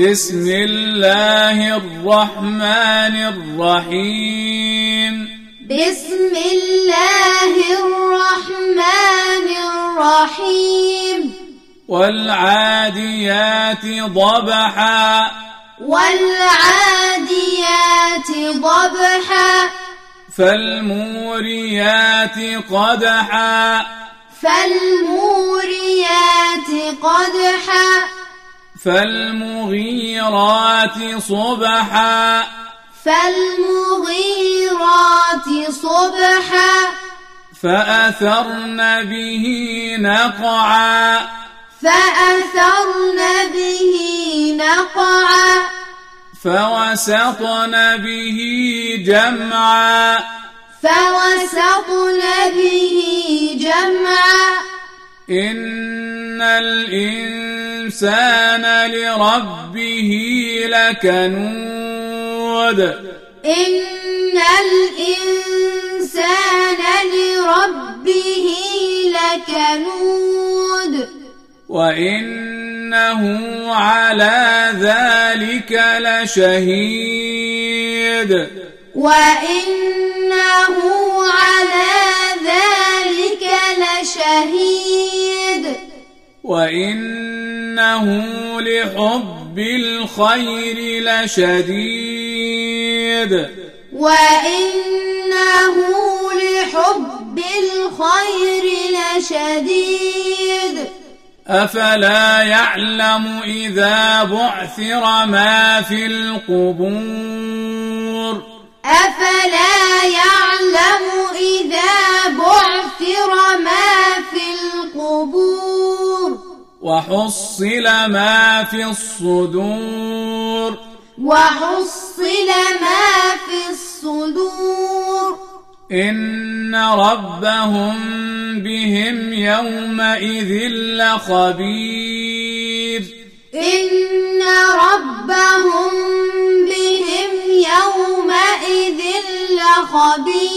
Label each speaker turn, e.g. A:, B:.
A: بسم الله الرحمن الرحيم
B: بسم الله الرحمن الرحيم
A: والعاديات ضبحا
B: والعاديات ضبحا
A: فالموريات قدحا
B: فالموريات قدحا
A: فالمغيرات صبحا
B: فالمغيرات صبحا
A: فأثرن به نقعا
B: فأثرن به نقعا
A: فوسطن به جمعا
B: فوسطن به جمعا
A: إن الإنسان لربه لكنود
B: إن الإنسان لربه لكنود
A: وإنه على ذلك لشهيد
B: وإنه على ذلك لشهيد
A: وإنه لحب الخير لشديد
B: وإنه لحب الخير لشديد
A: أفلا يعلم إذا بعثر ما في القبور
B: أفلا يعلم إذا بعثر ما في القبور
A: وحصل ما في الصدور
B: وحصل ما في الصدور
A: إن ربهم بهم يومئذ لخبير
B: إن ربهم بهم يومئذ لخبير